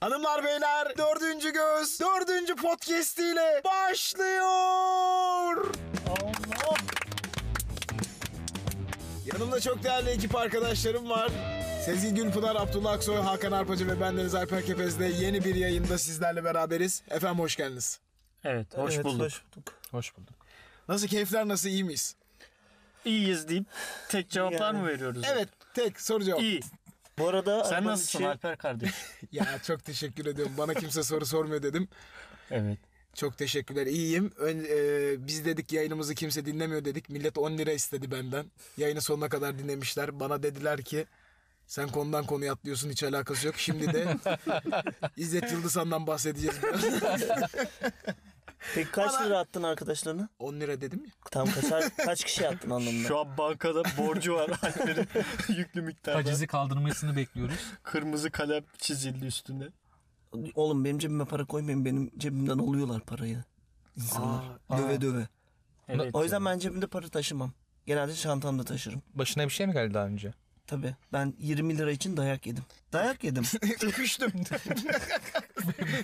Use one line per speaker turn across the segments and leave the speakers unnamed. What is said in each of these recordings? Hanımlar beyler dördüncü göz dördüncü podcast ile başlıyor.
Allah.
Yanımda çok değerli ekip arkadaşlarım var. Sezgin Gülpınar, Abdullah Aksoy, Hakan Arpacı ve ben Deniz Alper Kepez'de yeni bir yayında sizlerle beraberiz. Efendim hoş geldiniz.
Evet, hoş
Evet,
bulduk.
Hoş bulduk.
Hoş bulduk.
Nasıl keyifler nasıl iyi miyiz?
İyiyiz deyip tek cevaplar
Yani.
mı veriyoruz?
Evet tek soru cevap.
İyi.
Bu arada
Sen şey?
arabanın
nasılsın
içi-
Alper kardeş?
Ya çok teşekkür ediyorum. Bana kimse soru sormuyor dedim.
evet.
Çok teşekkürler. İyiyim. Ön- e, biz dedik yayınımızı kimse dinlemiyor dedik. Millet 10 lira istedi benden. Yayını sonuna kadar dinlemişler. Bana dediler ki sen konudan konuya atlıyorsun hiç alakası yok. Şimdi de İzzet Yıldızhan'dan bahsedeceğiz biraz.
Peki kaç
Bana-
lira attın arkadaşlarına?
10 lira dedim ya.
Tam kaç, kaç kişi attın anlamında?
Şu an bankada borcu var Alper'in yüklü miktarda.
Tacizi kaldırmasını bekliyoruz.
Kırmızı kalem çizildi üstüne.
Oğlum benim cebime para koymayın. Benim cebimden alıyorlar parayı. İnsanlar. döve döve.
Evet.
O yüzden ben cebimde para taşımam. Genelde çantamda taşırım.
Başına bir şey mi geldi daha önce?
Tabii. Ben 20 lira için dayak yedim. Dayak yedim.
Öpüştüm.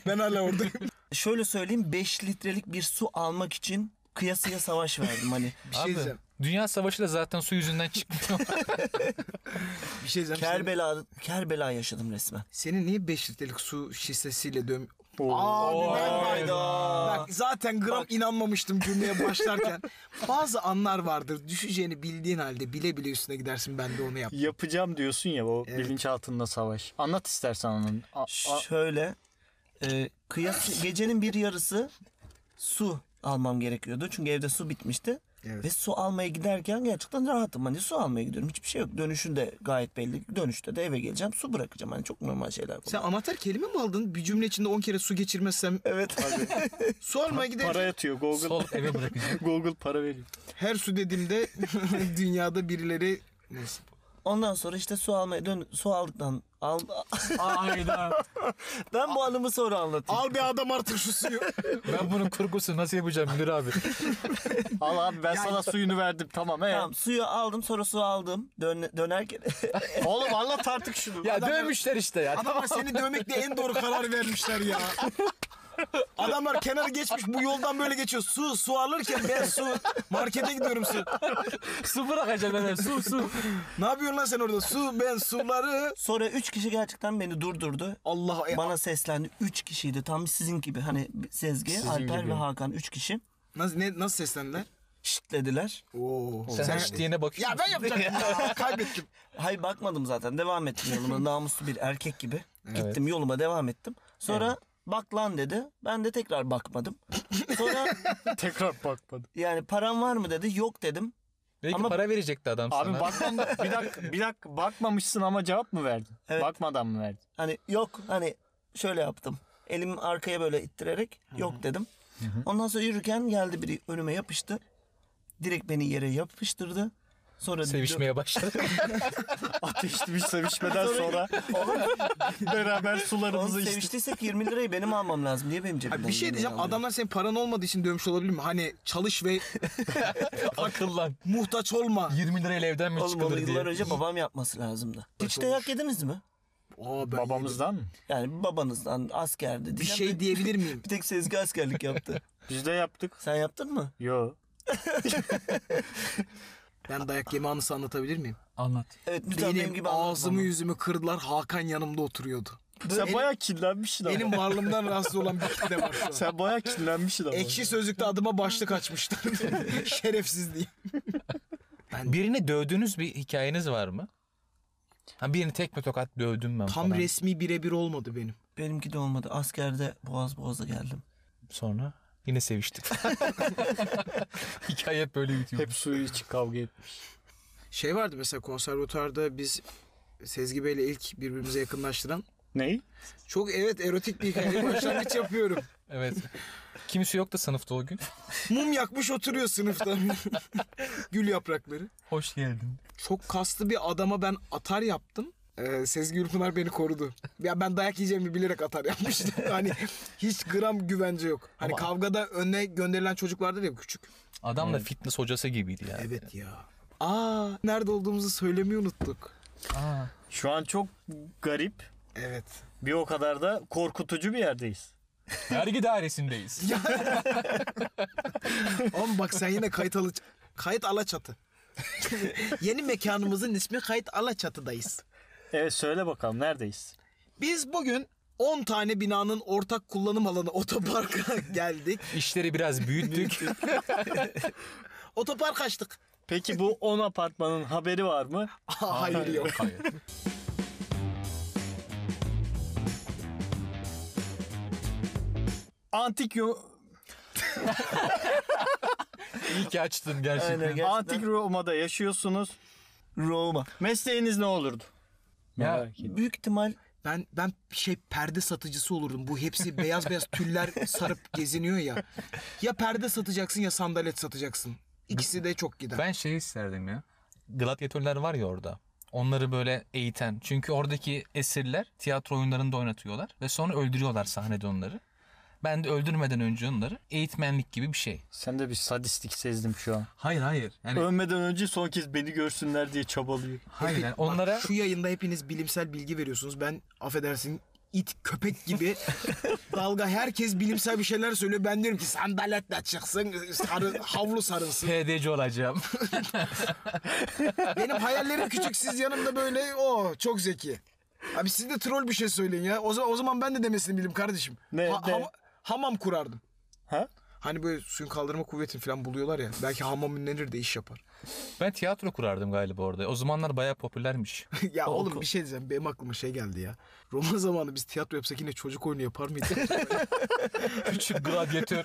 ben hala oradayım.
Şöyle söyleyeyim 5 litrelik bir su almak için kıyasıya savaş verdim hani.
Bir şey diyeceğim.
Dünya Savaşı da zaten su yüzünden çıkmıyor.
Bir şey diyeceğim. Senin,
Kerbela, Kerbela yaşadım resmen.
senin niye 5 litrelik su şişesiyle döm...
Oo.
Abi ben
Hayda.
hayda. Bak zaten gram inanmamıştım cümleye başlarken. Bazı anlar vardır düşeceğini bildiğin halde bile bile üstüne gidersin ben de onu yap.
Yapacağım diyorsun ya o
Evet.
bilinçaltında savaş. Anlat istersen onun. A- a-
Şöyle e, kıyas gecenin bir yarısı su almam gerekiyordu. Çünkü evde su bitmişti.
Evet.
Ve su almaya giderken gerçekten rahatım. Hani su almaya gidiyorum. Hiçbir şey yok. Dönüşünde gayet belli. Dönüşte de eve geleceğim. Su bırakacağım. Hani çok normal şeyler bunlar.
Sen amatör kelime mi aldın? Bir cümle içinde 10 kere su geçirmezsem
Evet.
su almaya gideceğim.
para yatıyor Google.
Sol eve bırakacağım.
Google para veriyor.
Her su dediğimde dünyada birileri Neyse.
Ondan sonra işte su almaya dön su aldıktan al
Hayda.
ben bu anımı sonra anlatayım.
Al bir adam artık şu suyu.
Ben bunun kurgusunu nasıl yapacağım Müdür abi?
Al abi ben sana suyunu verdim tamam. He.
Tamam suyu aldım sonra su aldım. Dön, dönerken
Oğlum anlat artık şunu.
Ya dövmüşler işte ya.
Adamlar seni dövmekle en doğru karar vermişler ya. Adamlar kenarı geçmiş bu yoldan böyle geçiyor. Su su alırken ben su markete gidiyorum su.
su bırakacağım hemen su su.
Ne yapıyorsun lan sen orada? Su ben suları.
sonra üç kişi gerçekten beni durdurdu.
Allah e,
Bana seslendi. Üç kişiydi. Tam sizin gibi. Hani Sezgi, Alper
gibi.
ve Hakan. Üç kişi.
nasıl, ne, nasıl seslendiler?
Şşt dediler.
Oo.
Sen hiç diyene bakıyor
Ya ben yapacaktım ya. Kaybettim.
Hay bakmadım zaten. Devam ettim yoluma. Namuslu bir erkek gibi. Gittim yoluma devam ettim. Sonra bak lan dedi. Ben de tekrar bakmadım. Sonra
Tekrar bakmadım.
yani param var mı dedi. Yok dedim.
Belki
Ama-
para verecekti adam
Abi
sana.
bakmam bir dakika bir dakika bakmamışsın ama cevap mı verdin?
Evet.
Bakmadan mı verdin?
Hani yok hani şöyle yaptım. Elimi arkaya böyle ittirerek yok dedim. Ondan sonra yürürken geldi biri önüme yapıştı. Direkt beni yere yapıştırdı. Sonra
Sevişmeye başladı.
Ateşli bir sevişmeden sonra beraber
Oğlum
sularımızı içtik.
seviştiysek 20 lirayı benim almam lazım. Niye benim cebimden?
bir şey
yirmi
diyeceğim.
lira alıyor?
Adamlar senin paran olmadığı için dövmüş olabilir mi? Hani çalış ve
Akıllan.
muhtaç olma.
20 lirayla evden mi
Oğlum onu
çıkılır diye.
yıllar önce babam yapması lazımdı. Hiç dayak yediniz mi?
Aa, ben
Babamızdan mı?
Yani babanızdan askerdi.
Bir şey diyebilir miyim?
Bir tek Sezgi askerlik yaptı.
Biz de yaptık.
Sen yaptın mı?
Yo.
Ben dayak yeme anısı anlatabilir miyim?
Anlat.
Evet lütfen benim
Benim
gibi
ağzımı yüzümü kırdılar. Hakan yanımda oturuyordu.
Sen bayağı kinlenmişsin ama.
Benim varlığımdan rahatsız olan bir kitle var şu an.
Sen bayağı kinlenmişsin ama.
Ekşi sözlükte adıma başlık açmışlar. Şerefsiz diye.
Birini dövdüğünüz bir hikayeniz var mı? Ha birini tekme tokat dövdüm ben
Tam
falan.
resmi birebir olmadı benim.
Benimki de olmadı. Askerde boğaz boğaza geldim.
Sonra yine seviştik. Hikaye hep böyle bitiyor.
Hep suyu için kavga etmiş.
Şey vardı mesela konservatuarda biz Sezgi Bey'le ilk birbirimize yakınlaştıran
Neyi?
çok evet erotik bir hikaye başlangıç yapıyorum.
Evet. Kimse yok da sınıfta o gün.
Mum yakmış oturuyor sınıfta. Gül yaprakları.
Hoş geldin.
Çok kaslı bir adama ben atar yaptım. Ee, Sezgi Ülpınar beni korudu. Ya ben dayak yiyeceğimi bilerek atar yapmıştım. hani hiç gram güvence yok. Hani
Ama-
kavgada önüne gönderilen çocuk vardır ya küçük.
Adam da fitness hocası gibiydi yani.
Evet ya. Aa nerede olduğumuzu söylemeyi unuttuk.
Aa,
Şu an çok garip
Evet.
Bir o kadar da korkutucu bir yerdeyiz.
Vergi dairesindeyiz.
Oğlum bak sen yine kayıt alı kayıt Alaçatı. Yeni mekanımızın ismi Kayıt Alaçatı'dayız.
Evet söyle bakalım neredeyiz?
Biz bugün 10 tane binanın ortak kullanım alanı otoparka geldik.
İşleri biraz büyüttük.
Otopark açtık.
Peki bu 10 apartmanın haberi var mı?
Aa, hayır yok.
Hayır.
Antik Yo-
İyi ki açtın gerçekten.
Aynen gerçekten.
Antik Roma'da yaşıyorsunuz.
Roma.
Mesleğiniz ne olurdu?
Ya,
Merak ettim.
Büyük ihtimal
Ben ben şey perde satıcısı olurdum. Bu hepsi beyaz beyaz tüller sarıp geziniyor ya. Ya perde satacaksın ya sandalet satacaksın. İkisi de çok gider.
Ben şey isterdim ya. Gladyatörler var ya orada. Onları böyle eğiten. Çünkü oradaki esirler tiyatro oyunlarında oynatıyorlar. Ve sonra öldürüyorlar sahnede onları. Ben de öldürmeden önce onları eğitmenlik gibi bir şey.
Sen de bir sadistlik sezdim şu an.
Hayır hayır. Yani,
Ölmeden önce son kez beni görsünler diye çabalıyor.
hayır yani
Bak,
onlara
şu yayında hepiniz bilimsel bilgi veriyorsunuz. Ben affedersin it köpek gibi dalga herkes bilimsel bir şeyler söylüyor. Ben diyorum ki sandaletle çıksın, sarı, havlu sarılsın.
PDC olacağım.
Benim hayallerim küçük siz yanımda böyle o çok zeki. Abi siz de troll bir şey söyleyin ya. O zaman, o zaman ben de demesini bilim kardeşim.
Ne, ne?
hama- hamam kurardım.
Ha?
Hani böyle suyun kaldırma kuvvetini falan buluyorlar ya. Belki hamam ünlenir de iş yapar.
ben tiyatro kurardım galiba orada. O zamanlar bayağı popülermiş.
ya oğlum bir şey diyeceğim. Benim aklıma şey geldi ya. Roma zamanı biz tiyatro yapsak yine çocuk oyunu yapar mıydık?
Küçük gladyatör.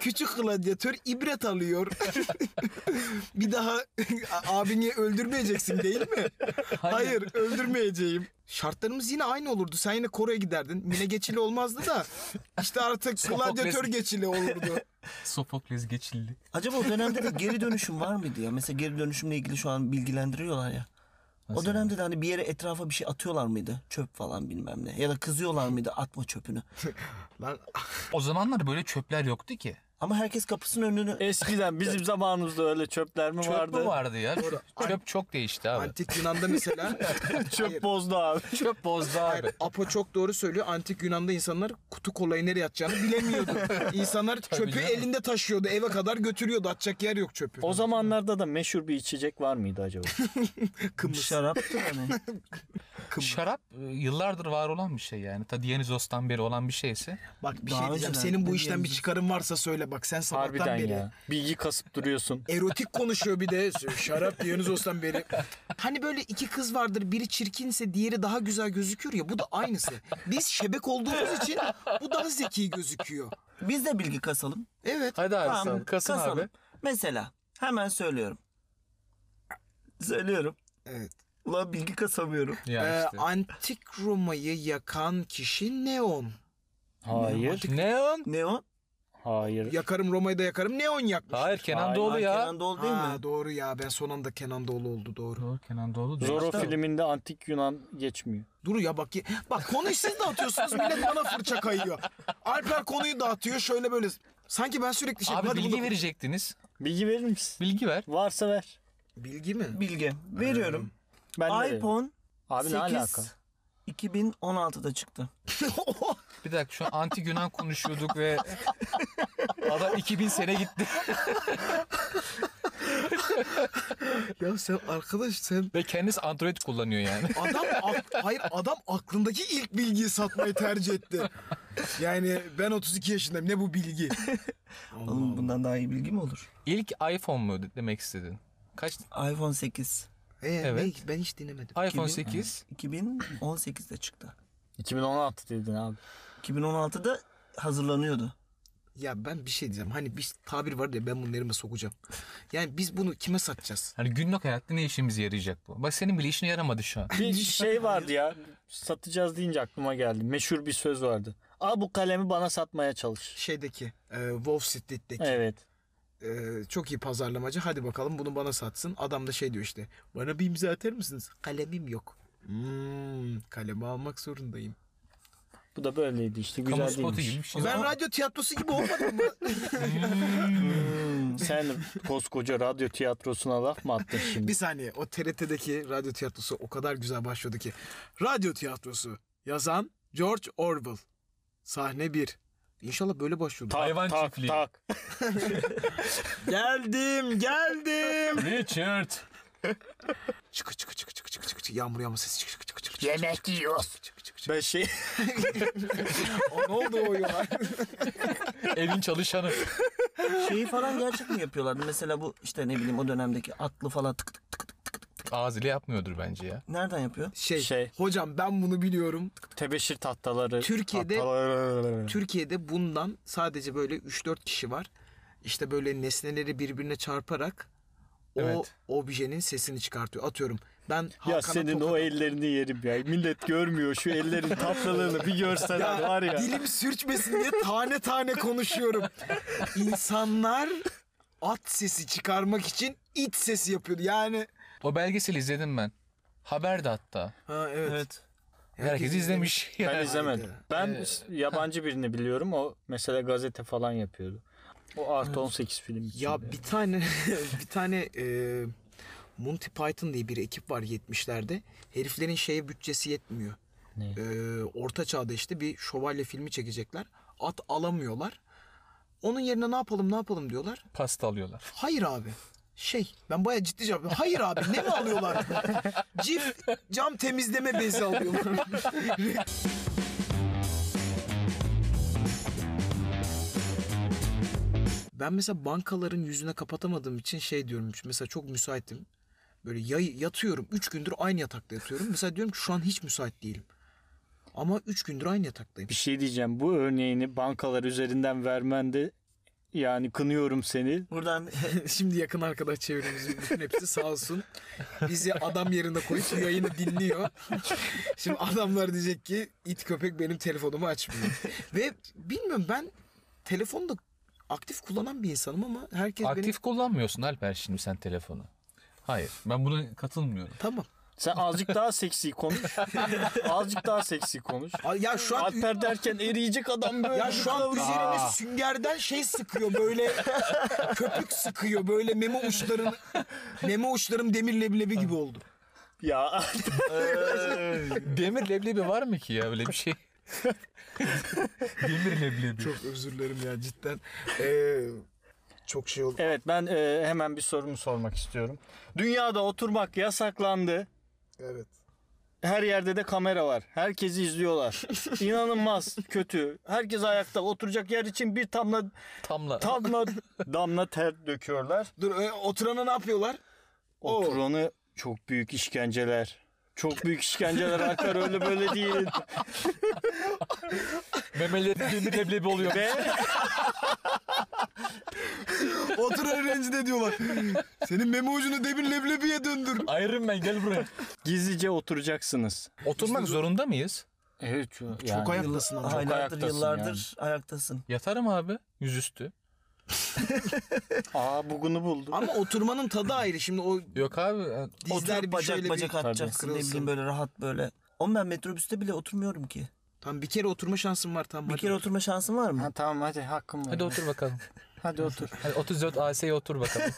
Küçük gladyatör ibret alıyor. bir daha abini öldürmeyeceksin değil mi? Hayır. öldürmeyeceğim. Şartlarımız yine aynı olurdu. Sen yine koroya giderdin. Mine geçili olmazdı da işte artık
Sofokles.
gladyatör geçili olurdu.
Sofokles geçildi.
acaba o dönemde de geri dönüşüm var mıydı ya? Mesela geri dönüşümle ilgili şu an bilgilendiriyorlar ya. o dönemde de hani bir yere etrafa bir şey atıyorlar mıydı? Çöp falan bilmem ne. Ya da kızıyorlar mıydı atma çöpünü?
Lan
O zamanlar böyle çöpler yoktu ki.
Ama herkes kapısının önünü
E, Eskiden bizim zamanımızda öyle çöpler mi
Çöp
vardı?
mü vardı ya? Çöp, çöp çok değişti abi.
antik Yunan'da mesela
Çöp bozdu abi.
Çöp bozdu abi.
Apo çok doğru söylüyor. Antik Yunan'da insanlar kutu kolayı nereye atacağını bilemiyordu. İnsanlar çöpü
canım.
elinde taşıyordu. Eve kadar götürüyordu. Atacak yer yok çöpü.
O zamanlarda da meşhur bir içecek var mıydı acaba?
şaraptır hani.
Şarap e, yıllardır var olan bir şey yani. Ta Dionysos'tan beri olan bir şeyse.
Bak bir
Daha
şey diyeceğim.
önceden
Senin bu
ne
işten bir
diyebiliriz?
çıkarın varsa söyle bak. Sen sabahtan
Harbiden
beri
ya. Bilgi kasıp duruyorsun.
erotik konuşuyor bir de. Şarap Dionysos'tan beri. Hani böyle iki kız vardır. Biri çirkinse diğeri daha güzel gözüküyor ya. Bu da aynısı. Biz şebek olduğumuz için bu daha zeki gözüküyor.
Biz de bilgi kasalım.
Evet.
Hadi abi
Tamam,
sen kasın abi.
Mesela hemen söylüyorum. Söylüyorum.
Evet.
Ulan bilgi kasamıyorum.
Ya
Ee,
işte.
antik Roma'yı yakan kişi Neon.
Hayır.
Neon?
Ne o?
Hayır.
Yakarım Roma'yı da yakarım. Neon yakmış.
Hayır Kenan
Hayır,
Doğulu ya.
Kenan Doğulu değil
Ha,
mi?
doğru ya ben son anda Kenan Doğulu oldu doğru.
Doğru Kenan Doğulu. değil.
Zorro
Hatta-
filminde antik Yunan geçmiyor.
Dur ya bak ye- bak konuyu siz dağıtıyorsunuz millet bana fırça kayıyor. Alper konuyu dağıtıyor şöyle böyle. Sanki ben sürekli şey
Abi
Hadi bunu-
bilgi verecektiniz.
Bilgi verir misin?
Bilgi ver.
Varsa ver.
Bilgi mi?
Bilgi. Veriyorum.
Ben de veririm.
iPhone
Abi
8
ne alaka?
2016'da çıktı.
Bir dakika şu an antik Yunan konuşuyorduk ve adam 2000 sene gitti.
ya sen arkadaş sen
Ve kendisi Android kullanıyor yani.
adam ak- hayır adam aklındaki ilk bilgiyi satmayı tercih etti. Yani ben 32 yaşındayım ne bu bilgi?
Oğlum bundan daha iyi bilgi mi olur?
İlk iPhone mu de- demek istedin? Kaç?
iPhone 8
Ee,
Evet.
ne- ben hiç dinlemedim.
iPhone
Kimi?
8.
2018'de çıktı.
2016 dedin abi.
2016'da hazırlanıyordu.
Ya ben bir şey diyeceğim. Hani bir tabir var ya ben bunu elime sokacağım. Yani biz bunu kime satacağız?
Hani günlük hayatta ne işimize yarayacak bu? Bak senin bile işine yaramadı şu an.
Bir şey vardı ya. Satacağız deyince aklıma geldi. Meşhur bir söz vardı. Al bu kalemi bana satmaya çalış.
Şeydeki, e, Wall Street'teki
Evet.
e, çok iyi pazarlamacı. Hadi bakalım bunu bana satsın. Adam da şey diyor işte. Bana bir imza atar mısınız? Kalemim yok. Hmm, kalemi almak zorundayım.
Bu da böyleydi işte güzel
Kamu
değilmiş.
spotu gibi bir şey.
Ben
Ama-
radyo tiyatrosu gibi olmadım mı?
Hmm, Sen koskoca radyo tiyatrosuna laf mı attın şimdi?
Bir saniye o TRT'deki radyo tiyatrosu o kadar güzel başlıyordu ki. Radyo tiyatrosu yazan George Orwell. Sahne 1. İnşallah böyle başlıyordu.
Hayvan
tak,
çiftliği.
tak.
geldim geldim.
Richard.
Çıkı çıkı çıkı çıkı çıkı çıkı çıkı. Yağmur yağmur sesi çıkı çıkı çıkı çıkı. çıkı.
Yemek yiyoruz.
Çıkı çıkı çıkı.
Ben şey
O ne oldu o ya?
Evin çalışanı.
Şeyi falan gerçek mi yapıyorlardı? Mesela bu işte ne bileyim o dönemdeki atlı falan tık tık tık tık tık.
Ağız ile yapmıyordur bence ya.
Nereden yapıyor?
Şey,
Şey.
hocam ben bunu biliyorum.
tebeşir tahtaları.
Türkiye'de-
tahtaları-
Türkiye'de bundan sadece böyle 3-4 kişi var. İşte böyle nesneleri birbirine çarparak o
Evet.
objenin sesini çıkartıyor. Atıyorum ben Hakan'a
ya senin
tokat
o ellerini yerim ya. Millet görmüyor şu ellerin tatlılığını bir görseler var ya.
Dilim sürçmesin diye tane tane konuşuyorum. İnsanlar at sesi çıkarmak için iç sesi yapıyordu. Yani
O belgeseli izledim ben. Haber de hatta.
ha evet.
Herkes izlemiş.
Ben
Yani.
izlemedim. Ben
Ee,
s- yabancı birini biliyorum. O mesela gazete falan yapıyordu. O artı 18 film.
Ya bir tane bir tane e, Monty Python diye bir ekip var 70'lerde. Heriflerin şeye bütçesi yetmiyor.
Ne?
E, orta çağda işte bir şövalye filmi çekecekler. At alamıyorlar. Onun yerine ne yapalım ne yapalım diyorlar.
Pasta alıyorlar.
Hayır abi. Şey ben baya ciddi cevap veriyorum. Hayır abi ne mi alıyorlar? Cif cam temizleme bezi alıyorlar. ben mesela bankaların yüzüne kapatamadığım için şey diyorum. Mesela çok müsaitim. Böyle yay, yatıyorum. Üç gündür aynı yatakta yatıyorum. Mesela diyorum ki şu an hiç müsait değilim. Ama üç gündür aynı yataktayım.
bir şey diyeceğim. Bu örneğini bankalar üzerinden vermen de yani kınıyorum seni.
Buradan
Şimdi yakın arkadaş çevremizin bütün hepsi sağ olsun. Bizi adam yerine koyup bu yayını dinliyor. Şimdi adamlar diyecek ki it köpek benim telefonumu açmıyor. Ve bilmiyorum ben telefonu da aktif kullanan bir insanım ama herkes benim...
Aktif kullanmıyorsun Alper şimdi sen telefonu. Hayır ben buna katılmıyorum.
Tamam.
Sen azıcık daha seksi konuş. azıcık daha seksi konuş.
Ay Ya şu an...
Alper derken eriyecek adam böyle.
Ya şu an üzerine
Aa.
süngerden şey sıkıyor böyle köpük sıkıyor böyle meme uçların meme uçlarım demir leblebi gibi oldu.
Ya
Demir leblebi var mı ki ya öyle bir şey? Demir leblebi.
Çok özür dilerim ya cidden. Ee, çok şey oldu.
evet ben e, hemen bir sorumu sormak istiyorum. Dünyada oturmak yasaklandı.
Evet.
Her yerde de kamera var. Herkesi izliyorlar. İnanılmaz kötü. Herkes ayakta oturacak yer için bir tamla
Tamla.
tamla damla ter döküyorlar.
Dur e, oturana ne yapıyorlar? Oo.
Oturanı çok büyük işkenceler. Çok büyük işkenceler Alper öyle böyle değil.
Memeleri demir leblebi oluyor.
Ve
Oturan rencide diyorlar. Senin meme ucunu demir leblebiye döndür.
Iron Man gel buraya.
gizlice oturacaksınız.
Oturmak zorunda mıyız?
Evet. Çok yani,
ayaktasın ama.
aylardır
ayaktasın
yıllardır ayaktasın.
Yatarım abi yüzüstü.
Aa bugünü buldum.
Ama oturmanın tadı ayrı. Şimdi o
Yok abi
dizler
Oturup
bir şöyle
bacak bacak
bir...
atacaksın ne
kırılsın.
bileyim böyle rahat böyle. Oğlum ben metrobüste bile oturmuyorum ki.
Tam bir kere oturma şansın var tam.
Bir kere oturma şansın var mı?
Ha, tamam hadi hakkım var.
hadi otur bakalım.
Hadi otur.
Hadi 34 AS'ye otur bakalım.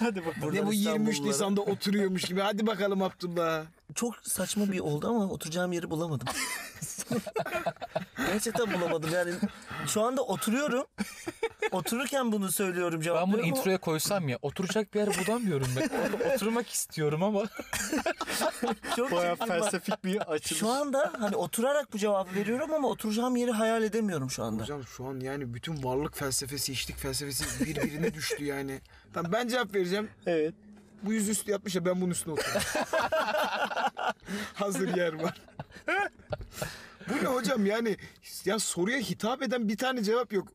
hadi bakalım.
Ne bu 23 Nisan'da oturuyormuş gibi. Hadi bakalım Abdullah.
Çok saçma bir oldu ama oturacağım yeri bulamadım. Gerçekten bulamadım yani. Şu anda oturuyorum. Otururken bunu söylüyorum
Ben bunu
cevaplıyorum ama-
introya koysam ya oturacak bir yer bulamıyorum ben. Oturmak istiyorum ama.
Çok
Baya
çirkin bak.
felsefik bir açılış.
Şu anda hani oturarak bu cevabı veriyorum ama oturacağım yeri hayal edemiyorum şu anda.
Hocam şu an yani bütün varlık felsefesi, içlik felsefesi birbirine düştü yani. Tamam ben cevap vereceğim.
Evet.
Bu yüzüstü yapmış ya ben bunun üstüne oturuyorum. Hazır yer var. Bu ne hocam yani ya soruya hitap eden bir tane cevap yok.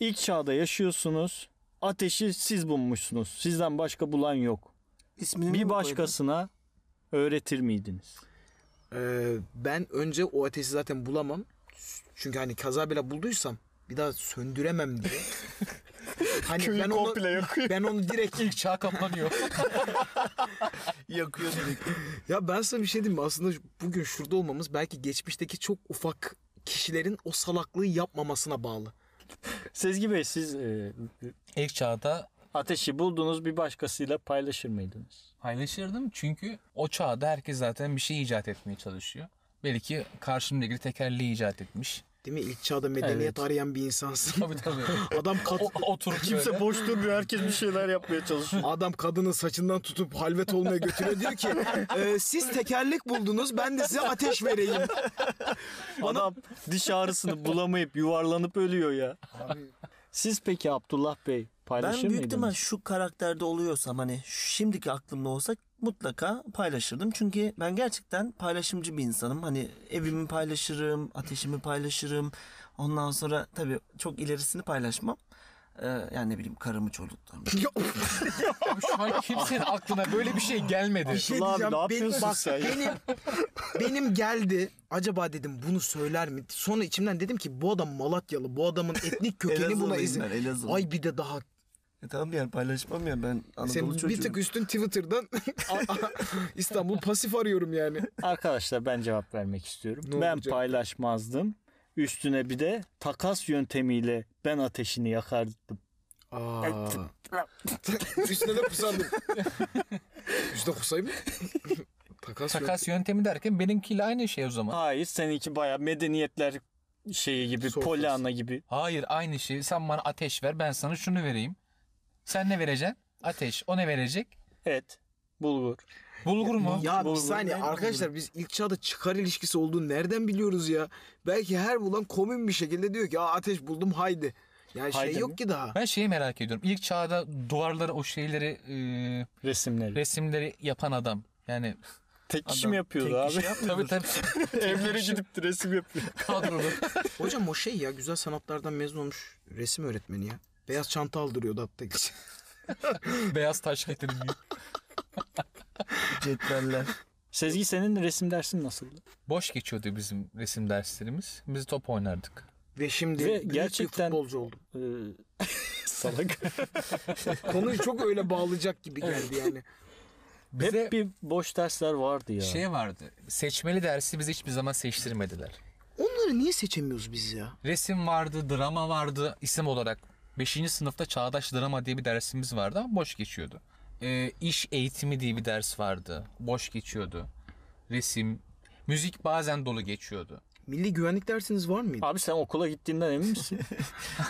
İlk çağda yaşıyorsunuz. Ateşi siz bulmuşsunuz. Sizden başka bulan yok.
İsmini mi
Bir
koydun?
başkasına öğretir miydiniz?
Ee, ben önce o ateşi zaten bulamam. Çünkü hani kaza bile bulduysam bir daha söndüremem diye. Hani
Köyü
ben onu,
komple yakıyor.
ben onu direkt
İlk çağ kapanıyor.
Yakıyor direkt.
Ya ben sana bir şey diyeyim mi? Aslında bugün şurada olmamız belki geçmişteki çok ufak kişilerin o salaklığı yapmamasına bağlı.
Sezgi Bey siz e,
İlk çağda
ateşi buldunuz bir başkasıyla paylaşır mıydınız?
paylaşırdım çünkü o çağda herkes zaten bir şey icat etmeye çalışıyor. Belki karşımdaki tekerleği icat etmiş.
Değil mi? İlk çağda medeniyet
Evet.
arayan bir insansın.
Tabii tabii.
Adam kat
O, oturup böyle.
boş durmuyor. Herkes bir şeyler yapmaya çalışıyor.
Adam kadının saçından tutup halvet olmaya götürüyor. Diyor ki "E, siz tekerlek buldunuz ben de size ateş vereyim.
Adam diş ağrısını bulamayıp yuvarlanıp ölüyor ya. Siz peki Abdullah Bey
Ben
paylaşır
büyük ihtimal
mıydınız?
şu karakterde oluyorsam hani şimdiki aklımda olsa mutlaka paylaşırdım. Çünkü ben gerçekten paylaşımcı bir insanım. Hani evimi paylaşırım, ateşimi paylaşırım. Ondan sonra tabii çok ilerisini paylaşmam. Ee, yani ne bileyim karımı çoluklarımı.
Şu an kimsenin aklına böyle bir şey gelmedi.
şey
Abdullah abi
diyeceğim,
ne
benim-
yapıyorsun
bak,
sen ya?
Benim, benim geldi acaba dedim bunu söyler mi? Sonra içimden dedim ki bu adam Malatyalı. Bu adamın etnik kökeni buna
Elazığlıyım
izin.
ben Elazığlı.
Ay bir de daha
E tamam yani paylaşmam ya ben Anadolu
Sen
çocuğuyum.
bir tık üstün Twitter'dan İstanbul pasif arıyorum yani.
Arkadaşlar ben cevap vermek istiyorum.
Ne
ben
olacak?
paylaşmazdım. Üstüne bir de takas yöntemiyle ben ateşini yakardım.
Aa. Üstüne de kusandım. Üstüne kusayım mı? Takas, Takas.
Takas yöntemi derken benimkiyle aynı şey o zaman.
Hayır seninki baya medeniyetler şeyi gibi,
Sofrası.
polyana gibi.
Hayır aynı şey. Sen bana ateş ver ben sana şunu vereyim. Sen ne vereceksin? Ateş. O ne verecek?
Et, bulgur.
Bulgur mu?
Ya bir
Doğru,
saniye
ben
arkadaşlar biz ilk çağda çıkar ilişkisi olduğunu nereden biliyoruz ya? Belki her bulan komün bir şekilde diyor ki Aa, ateş buldum haydi. Yani
Haydi
şey yok
mi?
ki daha.
Ben şeyi merak ediyorum. İlk çağda duvarlara o şeyleri e,
Resimleri.
resimleri yapan adam. Yani
Tek kişi
Adam
mi yapıyordu
tek
abi?
kişi yapmıyor.
tabii tabii
Evlere gidip resim yapıyor.
kadrolu.
Hocam o şey ya güzel sanatlardan mezun olmuş resim öğretmeni ya. Beyaz çanta aldırıyordu hatta.
Beyaz taş getirmiyor.
Cetveller.
Sezgi senin resim dersin nasıldı?
Boş geçiyordu bizim resim derslerimiz. Biz top oynardık.
Ve şimdi
Ve
büyük
gerçekten-
bir futbolcu oldum.
Ee, Salak.
Konuyu çok öyle bağlayacak gibi geldi yani.
Bize
Hep bir boş dersler vardı ya.
şey vardı. Seçmeli dersi bizi hiçbir zaman seçtirmediler.
Onları niye seçemiyoruz biz ya?
Resim vardı, drama vardı isim olarak. 5. sınıfta çağdaş drama diye bir dersimiz vardı ama boş geçiyordu. Ee, iş eğitimi diye bir ders vardı. Boş geçiyordu. Resim, müzik bazen dolu geçiyordu.
Milli güvenlik dersiniz var mıydı?
Abi sen okula gittiğinden emin misin?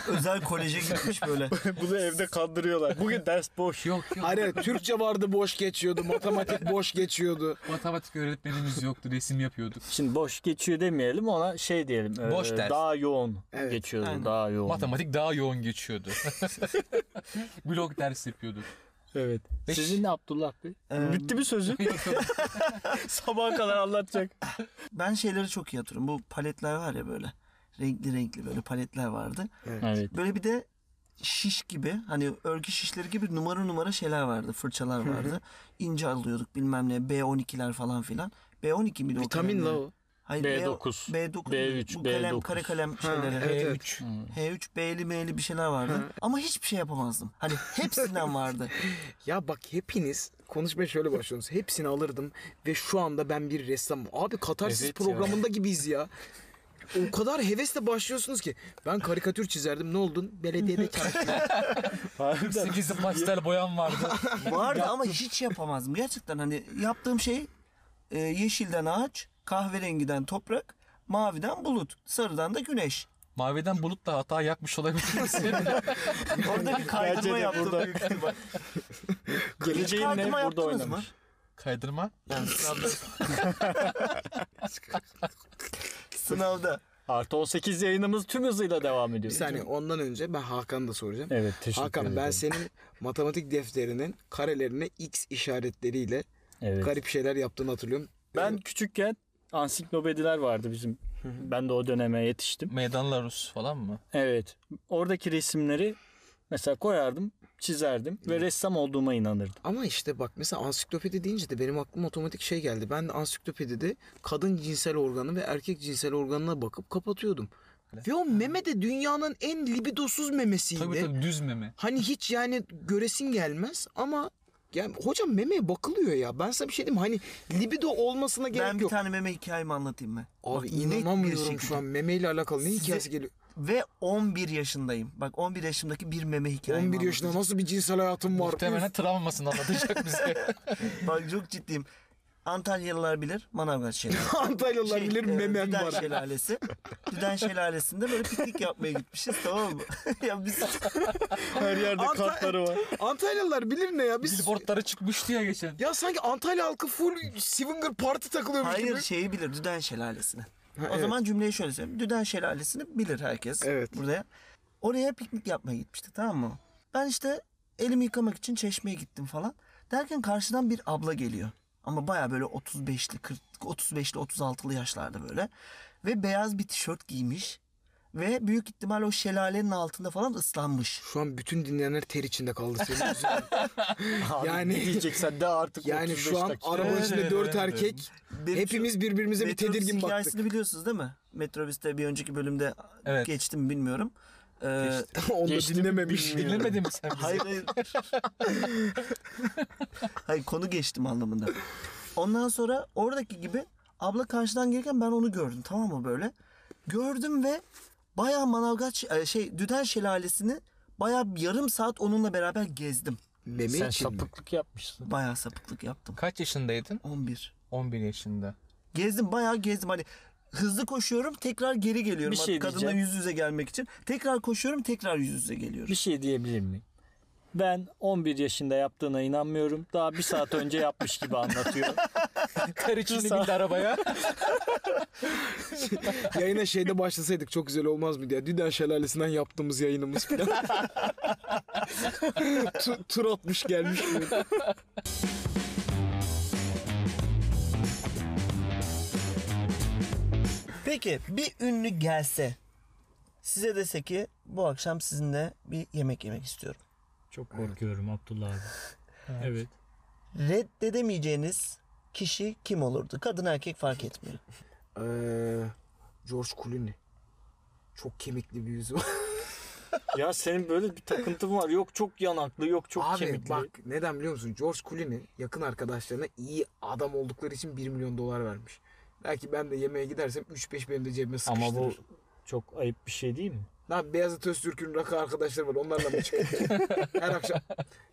Özel koleje gitmiş böyle.
Bunu evde kandırıyorlar. Bugün ders boş.
Yok yok.
Hayır hayır, Türkçe vardı boş geçiyordu, matematik boş geçiyordu.
Matematik öğretmenimiz yoktu. Resim yapıyorduk.
Şimdi boş geçiyor demeyelim ona şey diyelim. ee,
Boş ders.
Daha yoğun
Evet,
geçiyordu.
aynen.
Daha yoğun.
Matematik daha yoğun geçiyordu. Blok ders yapıyorduk.
Evet.
Beş-
Sizin ne Abdullah Bey?
Ee,
Bitti mi sözün? Sabaha kadar anlatacak.
Ben şeyleri çok iyi hatırlıyorum. Bu paletler var ya böyle. Renkli renkli böyle paletler vardı.
Evet.
Böyle bir de şiş gibi hani örgü şişleri gibi numara numara şeyler vardı. Fırçalar vardı. İnce alıyorduk bilmem ne B12'ler falan filan. B12 miydi o
Vitamin
kalemler?
la o.
Hayır,
B9,
B, 9
B3,
Bu kalem
B9.
kare kalem
Ee,
şeyleri.
evet, evet.
E3.
H3 B'li M'li bir şeyler vardı. Ama hiçbir şey yapamazdım. Hani hepsinden vardı.
Ya bak hepiniz konuşmaya şöyle başlıyorsunuz. Hepsini alırdım ve şu anda ben bir ressamım. Abi Katarsis
Evet ya.
programında gibiyiz ya. O kadar hevesle başlıyorsunuz ki. Ben karikatür çizerdim. Ne oldun? Belediyede çalıştım.
8 pastel boyam vardı.
Vardı ama hiç yapamazdım. Gerçekten hani yaptığım şey e, yeşilden ağaç, kahverengiden toprak, maviden bulut, sarıdan da güneş.
Maviden bulut da hata yakmış olabilir.
Orada bir
Bence
kaydırma
de
yaptım.
burada.
büyük ihtimal.
Geleceğin ne
Kaydırma
burada
yaptınız mı?
oynamış.
Kaydırma.
Yani sınavda. sınavda.
Artı 18 yayınımız tüm hızıyla devam ediyor.
bir saniye ondan önce ben Hakan'ı da soracağım.
Evet teşekkür
Hakan
ederim.
ben senin matematik defterinin karelerine X işaretleriyle
Evet.
garip şeyler yaptığını hatırlıyorum.
Ben küçükken ansiklopediler vardı bizim. Ben de o döneme yetiştim.
Meydanlar Rus falan mı?
Evet. Oradaki resimleri mesela koyardım, çizerdim ve ressam olduğuma inanırdım.
Ama işte bak mesela ansiklopedi deyince de benim aklıma otomatik şey geldi. Ben de ansiklopedide kadın cinsel organı ve erkek cinsel organına bakıp kapatıyordum. Ve o meme de dünyanın en libidosuz memesiydi.
Tabii tabii düz meme.
Hani hiç yani göresin gelmez ama yani hocam memeye bakılıyor ya. Ben sana bir şey diyeyim mi? hani libido olmasına gerek
ben bir
yok.
tane meme hikayemi anlatayım ben.
Abi
Bak, net bir
inanamıyorum
şekilde.
şu an memeyle alakalı ne
Size-
hikayesi geliyor.
Ve 11 yaşındayım. Bak 11 yaşımdaki bir meme hikayemi
11 yaşında
anlatacağım.
nasıl bir cinsel hayatım var?
Muhtemelen travmasını anlatacak bize.
Bak çok ciddiyim. Antalyalılar bilir Manavgat şelalesi.
Antalyalılar bilir
e,
memem
Düden
var.
şelalesi. Düden şelalesinde böyle piknik yapmaya gitmişiz tamam mı? ya biz
Her yerde
Anta-
kartları var.
Antalyalılar bilir ne ya? Biz
Billboardlara çıkmıştı ya geçen.
ya sanki Antalya halkı full swinger parti takılıyormuş
hayır
gibi.
şeyi bilir Düden şelalesini. o
evet.
zaman cümleyi şöyle söyleyeyim. Düden şelalesini bilir herkes.
Evet.
Buraya. Oraya piknik yapmaya gitmişti tamam mı? Ben işte elimi yıkamak için çeşmeye gittim falan. Derken karşıdan bir abla geliyor. Ama baya böyle 35'li 40 35'li 36'lı yaşlarda böyle. Ve beyaz bir tişört giymiş. Ve büyük ihtimal o şelalenin altında falan ıslanmış.
Şu an bütün dinleyenler ter içinde kaldı senin yüzünden.
Abi
Yani-
ne diyeceksen de artık
Yani
35
şu an
dakika.
arabanın
Evet,
içinde
evet,
4
evet.
erkek
Benim
hepimiz birbirimize bir
Metrobüs
tedirgin baktık.
hikayesini biliyorsunuz değil mi? Metrobüs'te bir önceki bölümde
Evet.
geçtim bilmiyorum. Ee,
Onu da
Geçtim,
dinlememiş.
bilmiyorum.
Dinlemedin mi sen bizi?
Hayır hayır. hayır konu geçtim anlamında. Ondan sonra oradaki gibi abla karşıdan gelirken ben onu gördüm tamam mı böyle. Gördüm ve bayağı Manavgat ş- e, şey Düden Şelalesi'ni bayağı yarım saat onunla beraber gezdim.
Meme
Sen
için mi?
sapıklık yapmışsın.
Bayağı sapıklık yaptım.
Kaç yaşındaydın?
11.
11 yaşında.
Gezdim bayağı gezdim hani hızlı koşuyorum tekrar geri geliyorum.
Bir şey
Kadınla
diyeceğim.
yüz yüze gelmek için. Tekrar koşuyorum tekrar yüz yüze geliyorum.
Bir şey diyebilir miyim? Ben 11 yaşında yaptığına inanmıyorum. Daha bir saat önce yapmış gibi anlatıyor.
Kar içinde
Sağ-
bindi arabaya.
Yayına şeyde başlasaydık çok güzel olmaz mıydı ya? Düden Şelalesi'nden yaptığımız yayınımız falan. Tu- tur atmış gelmiş. böyle.
Peki bir ünlü gelse size dese ki bu akşam sizinle bir yemek yemek istiyorum.
Çok korkuyorum Abdullah abi. evet.
Reddedemeyeceğiniz kişi kim olurdu? Kadın erkek fark etmiyor.
Ee, George Clooney. Çok kemikli bir yüzü var.
ya senin böyle bir takıntın var. Yok çok yanaklı, yok çok
Abi
kemikli.
bak neden biliyor musun? George Clooney yakın arkadaşlarına iyi adam oldukları için 1 milyon dolar vermiş. Belki ben de yemeğe gidersem 3-5 benim de cebime sıkıştırır.
Ama bu çok ayıp bir şey değil mi?
Lan Beyazıt Öztürk'ün rakı arkadaşları var. Onlarla mı çıkıyor? Her akşam.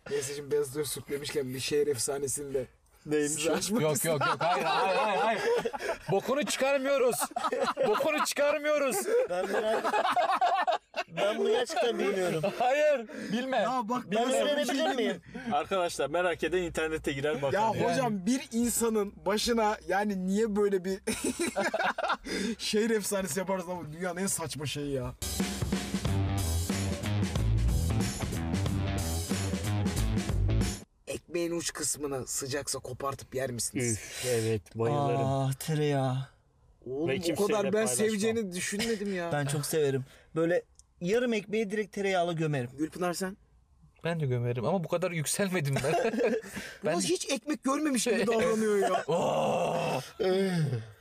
Neyse şimdi Beyazıt Öztürk demişken bir şehir efsanesinde
Neymiş
size
o?
açmak
Yok yok yok hayır hayır hayır. hayır. Bokunu çıkarmıyoruz. Bokunu çıkarmıyoruz.
Ben merak Ben bunu gerçekten bilmiyorum.
Hayır. Bilme.
bak
Ben
şey
öğrenebilir miyim?
Arkadaşlar merak eden internete girer bakar.
Ya hocam bir insanın başına yani niye böyle bir şehir efsanesi yaparız ama dünyanın en saçma şeyi ya. Ekmeğin uç kısmını sıcaksa kopartıp yer misiniz?
Üf evet bayılırım.
Aa Ah, tereyağı.
Oğlum
Ve
o
kimseyle
kadar ben
paylaşmam.
seveceğini düşünmedim ya.
Ben çok severim. Böyle yarım ekmeği direkt tereyağla gömerim.
Gülpınar sen?
Ben de gömerim ama bu kadar yükselmedim ben. ben
Ulan hiç ekmek görmemiş gibi davranıyor ya.
Oo!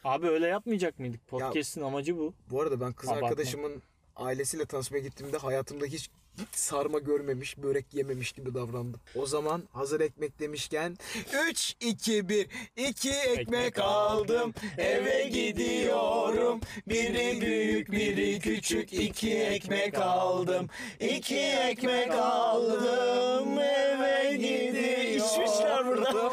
Abi öyle yapmayacak mıydık? Podcast'in amacı bu.
Bu arada ben kız
Abartma.
arkadaşımın ailesiyle tanışmaya gittiğimde hayatımda hiç sarma görmemiş, börek yememiş gibi davrandım. O zaman hazır ekmek demişken 3 2 1 2 ekmek
Ekmek
aldım.
aldım,
Eve gidiyorum. Biri büyük, biri küçük. 2 ekmek aldım. 2 ekmek aldım. Eve gidiyorum.
İçmişler burada.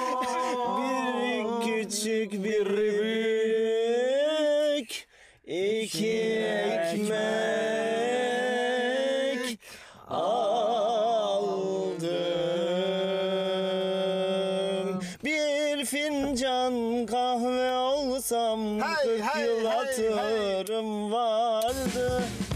Biri
küçük biri büyük iki
ekmek
aldım bir fincan kahve olsam
Hey,
kırk
hey,
yıl
hey, hey.
hatırım vardı